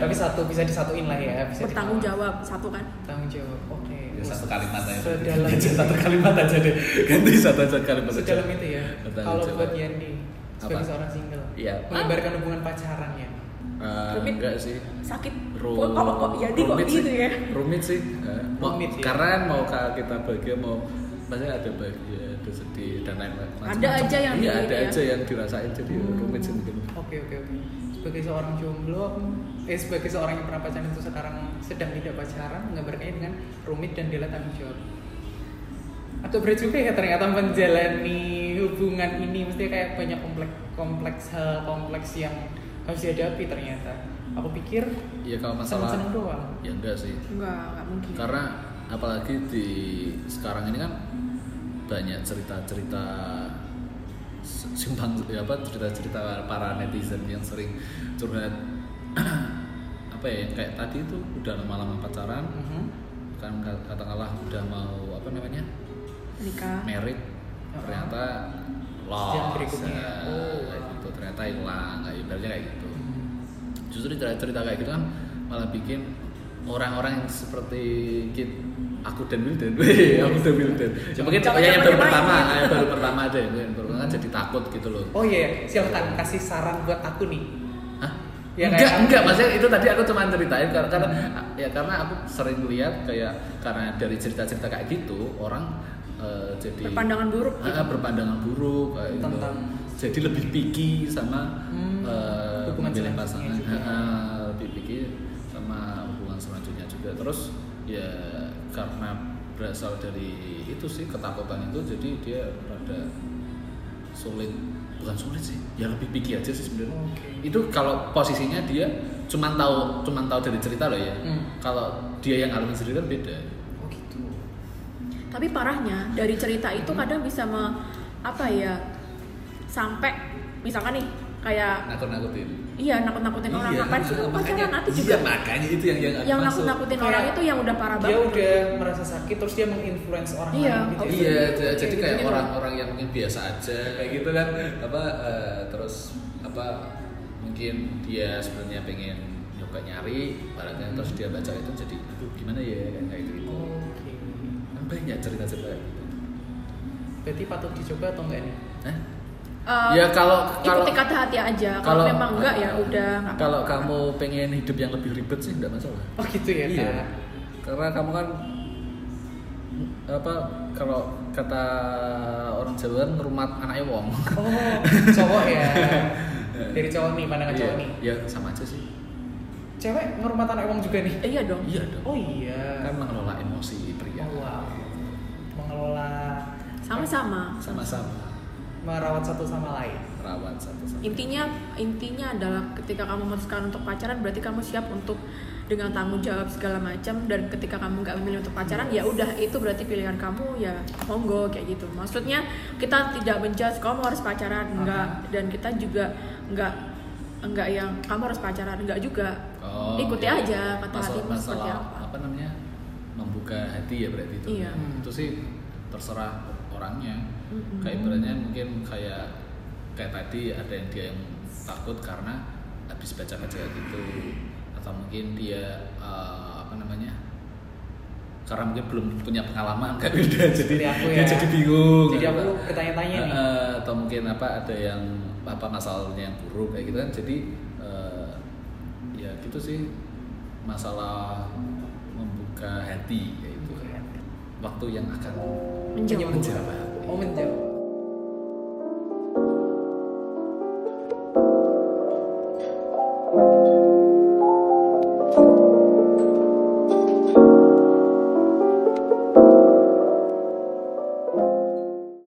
B: Tapi satu bisa disatuin lah ya, bisa
C: bertanggung
B: ditawar.
C: Oh, jawab satu kan
B: Tanggung jawab. Oke.
A: Ya, satu kalimat aja
B: Sedalam
A: Aja,
B: itu.
A: satu kalimat aja deh ganti satu aja kalimat aja.
B: Sedalam itu ya.
A: Bertanggung
B: Kalau
A: jawab.
B: buat Yandi sebagai
A: Apa?
B: seorang single,
A: Iya.
B: menggambarkan hubungan pacaran ya.
A: Eh,
C: Rumit.
A: enggak sih
C: sakit
A: Ru-
C: kok kok kok jadi kok
A: rumit
C: gitu
A: sih.
C: ya
A: rumit sih Eh, mau-
B: Rumit, iya.
A: karena mau ka- kita bahagia mau pasti ada bahagia ada sedih dan lain-lain
C: Ada
A: Macam-macam.
C: aja yang
A: iya
C: di-
A: ada
C: ya. Hmm.
A: aja yang dirasain jadi ya rumit sih mungkin
B: Oke, oke, oke. Sebagai seorang jomblo, aku- eh sebagai seorang yang pernah pacaran itu sekarang sedang tidak pacaran, menggambarkannya dengan rumit dan Dila tanggung jawab. Agak berat juga ya ternyata menjalani hubungan ini mesti kayak banyak kompleks kompleks hal kompleks yang harus dihadapi ternyata. Aku pikir
A: ya kalau masalah
B: seneng-seneng doang.
A: ya enggak sih
C: enggak enggak mungkin
A: karena apalagi di sekarang ini kan banyak cerita-cerita s- simpang ya apa cerita-cerita para netizen yang sering curhat (clears throat) apa ya yang kayak tadi itu udah lama-lama pacaran
B: Mhm.
A: kan ka- katakanlah udah mau apa namanya
C: nikah
A: merit
B: Uh-huh.
A: ternyata
B: Yang
A: lost
B: berikutnya.
A: ya,
B: Oh.
A: kayak gitu ternyata hilang kayak ibaratnya kayak gitu justru cerita cerita kayak gitu kan malah bikin orang-orang yang seperti kit- aku dan Wildan, Weh, (laughs) aku dan Wildan. Ya, mungkin ya,
C: Jangan-
A: yang
C: jangan
A: baru
C: nyamain.
A: pertama, yang baru pertama aja, yang baru pertama jadi takut gitu loh.
B: Oh iya, silahkan kasih saran buat aku nih.
A: Hah?
B: Ya,
A: enggak,
B: kayak-
A: enggak maksudnya itu tadi aku cuma ceritain karena, karena ya karena aku sering lihat kayak karena dari cerita-cerita kayak gitu orang eh, jadi
C: Berpandangan buruk gitu.
A: Ah, berpandangan buruk kayak gitu.
B: Tentang-
A: jadi lebih picky sama
B: Hmm,
A: eh,
B: hubungan
A: memilih pasangan
B: selanjutnya juga.
A: Ah, lebih picky sama hubungan selanjutnya juga terus ya karena berasal dari itu sih ketakutan itu jadi dia rada sulit bukan sulit sih ya lebih picky aja sih sebenarnya
B: Oke.
A: itu kalau posisinya dia cuman tahu cuman tahu dari cerita loh ya
B: Hmm.
A: kalau dia yang ngalamin sendiri kan beda
B: Oh gitu.
C: tapi parahnya dari cerita itu
A: Hmm.
C: kadang bisa me, apa ya sampai misalkan nih kayak
A: nakut nakutin
C: iya nakut-nakutin orang ngapain sih kamu pacaran nanti
A: iya,
C: juga
A: kan? makanya itu yang yang,
C: yang nakut-nakutin
B: Kayak-
C: orang itu yang udah parah
B: Dia
C: banget
B: udah merasa sakit terus dia menginfluence orang
C: Iya,
B: lain gitu. ya.
A: iya j-
C: Kayak
A: jadi kayak
C: gitu-gitu.
A: orang-orang yang mungkin biasa aja kayak gitu kan apa eh, terus apa mungkin dia sebenarnya pengen nyoba nyari barangnya
C: Hmm.
A: terus dia baca itu jadi aduh gimana ya kayak gitu gitu
B: Oke.
A: kan banyak cerita-cerita kayak gitu
B: Berarti patut dicoba atau enggak nih?
A: Hah?
C: Eh,
A: Ya, kalau- kalau-
C: ikuti kata hati aja kalau memang enggak ya udah nggak
A: kalau
C: apa-apa.
A: kamu pengen hidup yang lebih ribet sih nggak masalah
B: Oh gitu ya,
A: iya
B: Kak.
A: karena kamu kan apa kalau kata orang Jawa kan rumah anaknya wong
B: Oh, cowok ya. Dari cowok nih, pandangan
A: Iya,
B: cowok nih.
A: ya sama aja sih
B: Cewek ngurmat anak uang juga nih.
C: Eh, iya dong
A: iya dong
B: Oh iya.
A: kan mengelola emosi pria
B: Oh, wow. Mengelola
C: sama-sama
A: sama-sama
B: merawat satu sama lain.
A: merawat satu sama
C: intinya intinya adalah ketika kamu memutuskan untuk pacaran berarti kamu siap untuk dengan tanggung jawab segala macam dan ketika kamu nggak memilih untuk pacaran ya udah itu berarti pilihan kamu ya monggo kayak gitu maksudnya kita tidak menjudge kamu harus pacaran enggak
B: Aha.
C: dan kita juga enggak enggak yang kamu harus pacaran enggak juga
A: Oh,
C: ikuti
A: iya.
C: aja kata
A: Masalah-
C: hatimu seperti
A: masalah
C: apa
A: apa namanya membuka hati ya berarti itu
C: Iya.
A: Hmm. itu sih terserah orangnya
C: Mm-mm.
A: kayak ibaratnya mungkin kayak kayak tadi ada yang dia yang takut karena habis baca baca gitu atau mungkin dia eh, apa namanya karena mungkin belum punya pengalaman kayak beda jadi
B: Seperti aku
A: dia
B: ya.
A: jadi bingung
B: Jadi
A: gitu.
B: aku bertanya-tanya nih.
A: Eh, atau mungkin apa ada yang apa masalahnya yang buruk kayak gitu kan jadi eh, ya gitu sih masalah gitu. membuka hati yaitu waktu yang akan
C: menjawab
A: menjawab
B: Oh menjawab.